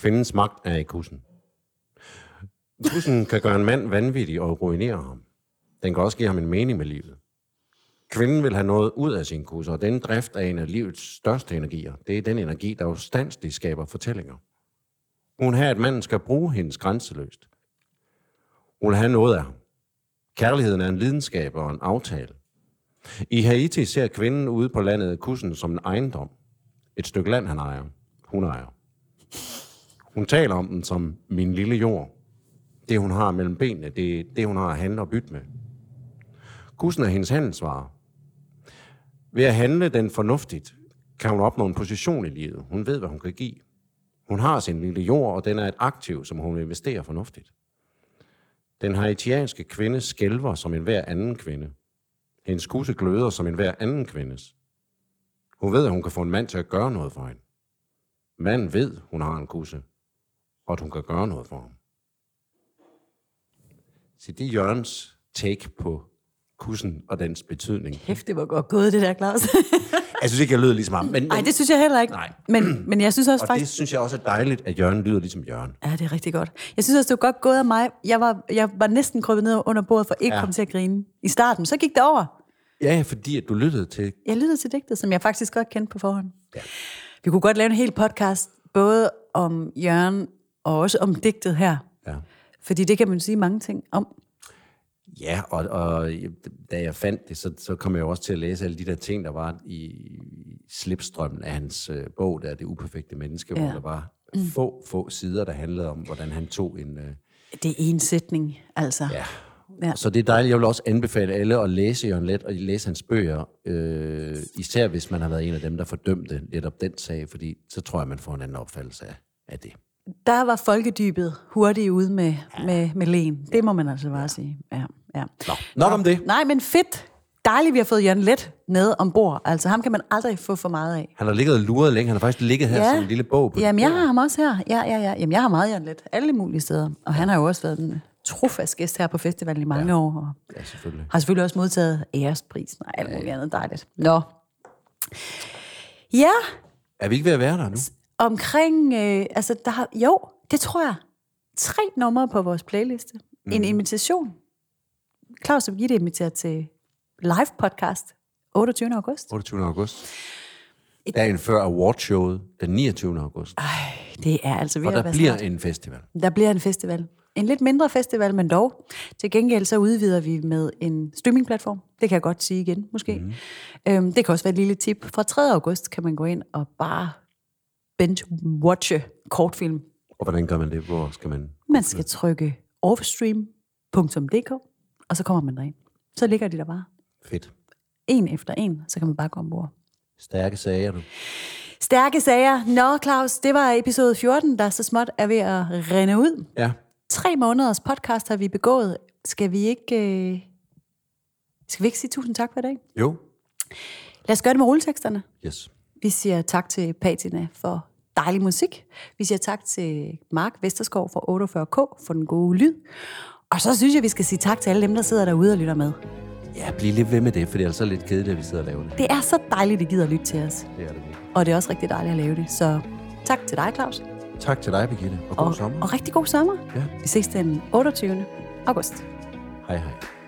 Speaker 1: Kvindens magt er i kussen. Kussen kan gøre en mand vanvittig og ruinere ham. Den kan også give ham en mening med livet. Kvinden vil have noget ud af sin kus, og den drift er en af livets største energier. Det er den energi, der ustandsligt skaber fortællinger. Hun har, at manden skal bruge hendes grænseløst. Hun vil have noget af ham. Kærligheden er en lidenskab og en aftale. I Haiti ser kvinden ude på landet kussen som en ejendom. Et stykke land, han ejer. Hun ejer. Hun taler om den som min lille jord. Det, hun har mellem benene, det er det, hun har at handle og bytte med. Kussen er hendes handelsvare. Ved at handle den fornuftigt, kan hun opnå en position i livet. Hun ved, hvad hun kan give. Hun har sin lille jord, og den er et aktiv, som hun investerer fornuftigt. Den haitianske kvinde skælver som enhver anden kvinde. Hendes kusse gløder som en hver anden kvindes. Hun ved, at hun kan få en mand til at gøre noget for hende. Manden ved, hun har en kusse, og at hun kan gøre noget for ham. Så det er Jørgens take på kussen og dens betydning.
Speaker 2: Kæft, det var godt gået, det der, Claus.
Speaker 1: Jeg synes ikke, jeg lyder ligesom ham, men,
Speaker 2: (laughs) Nej, det synes jeg heller ikke.
Speaker 1: Nej.
Speaker 2: Men, men jeg synes også
Speaker 1: og
Speaker 2: faktisk...
Speaker 1: det synes jeg også er dejligt, at Jørgen lyder ligesom Jørgen.
Speaker 2: Ja, det er rigtig godt. Jeg synes også, det var godt gået af mig. Jeg var, jeg var næsten krøbet ned under bordet for ikke
Speaker 1: Ja.
Speaker 2: ja. komme til at grine i starten. Så gik det over.
Speaker 1: Ja, ja, fordi at du lyttede til...
Speaker 2: Jeg lyttede til digtet, som jeg faktisk godt kendte på forhånd.
Speaker 1: Ja.
Speaker 2: Vi kunne godt lave en hel podcast, både om Jørgen og også om digtet her.
Speaker 1: Ja.
Speaker 2: Fordi det kan man sige mange ting om.
Speaker 1: Ja, og, og da jeg fandt det, så, så kom jeg jo også til at læse alle de der ting, der var i slipstrømmen af hans øh, bog, der er Det Uperfekte Menneske, ja. hvor
Speaker 2: Ja. Mm.
Speaker 1: der var få, få sider, der handlede om, hvordan han tog en... Øh,
Speaker 2: Det er en sætning, altså.
Speaker 1: ja.
Speaker 2: Ja.
Speaker 1: Så det er dejligt. Jeg vil også anbefale alle at læse Jørgen Let og læse hans bøger, øh, især hvis man har været en af dem, der fordømte lidt op den sag, fordi så tror jeg, man får en anden opfattelse af, af det.
Speaker 2: Der var folkedybet hurtigt ude med, med, med len. Det må man altså bare sige. Ja, ja.
Speaker 1: Nå, nok om det.
Speaker 2: Nej, men fedt. Dejligt, vi har fået Jørgen Let med ombord. Altså, ham kan man aldrig få for meget af.
Speaker 1: Han har ligget og luret længe. Han har faktisk ligget her ja. som en lille bog. På
Speaker 2: Jamen, jeg har ham også her. Ja, ja, ja. Jamen, jeg har meget Jørgen Let. Alle mulige steder. Og han har jo også været en trofast gæst her på festivalen i mange ja. år. Og
Speaker 1: Ja, selvfølgelig.
Speaker 2: har selvfølgelig også modtaget æresprisen og alt muligt andet dejligt. Nå. Ja,
Speaker 1: Er vi ikke ved at være der nu?
Speaker 2: omkring... Øh, altså, der har, jo, det tror jeg. Tre numre på vores playliste. Mm. En invitation. Claus og Birgitte inviterer til live podcast 28. august.
Speaker 1: 28. august. Dagen før awardshowet, den 29. august.
Speaker 2: Det er altså ved
Speaker 1: Og
Speaker 2: at
Speaker 1: der
Speaker 2: være
Speaker 1: bliver
Speaker 2: snart.
Speaker 1: en festival.
Speaker 2: Der bliver en festival. en lidt mindre festival, men dog. Til gengæld så udvider vi med en streamingplatform. Det kan jeg godt sige igen, måske. Mm. Øhm, det kan også være et lille tip. Fra 3. august kan man gå ind og bare binge-watche kortfilm.
Speaker 1: Og hvordan gør man det? Hvor skal man...
Speaker 2: Man skal trykke offstream.dk, og så kommer man derind. Så ligger de der bare.
Speaker 1: Fedt.
Speaker 2: En efter en, så kan man bare gå ombord.
Speaker 1: Stærke sager, du.
Speaker 2: Stærke sager. Nå, Claus, det var episode 14, der så småt er ved at rende ud.
Speaker 1: Ja.
Speaker 2: Tre måneders podcast har vi begået. Skal vi ikke, øh... skal vi ikke sige tusind tak for i dag?
Speaker 1: Jo.
Speaker 2: Lad os gøre det med rulleteksterne.
Speaker 1: Yes.
Speaker 2: Vi siger tak til Patina for dejlig musik. Vi siger tak til Mark Vesterskov fra 48K for den gode lyd. Og så synes jeg, vi skal sige tak til alle dem, der sidder derude og lytter med.
Speaker 1: Ja, bliv lidt ved med det, for det er altså lidt kedeligt, at vi sidder og laver det.
Speaker 2: Det er så dejligt, at I gider at lytte til os.
Speaker 1: Det er det virkelig.
Speaker 2: Og det er også rigtig dejligt at lave det. Så tak til dig, Claus.
Speaker 1: Tak til dig, Birgitte, og god
Speaker 2: og,
Speaker 1: sommer.
Speaker 2: og rigtig god sommer.
Speaker 1: Ja.
Speaker 2: Vi ses den 28. august.
Speaker 1: Hej, hej.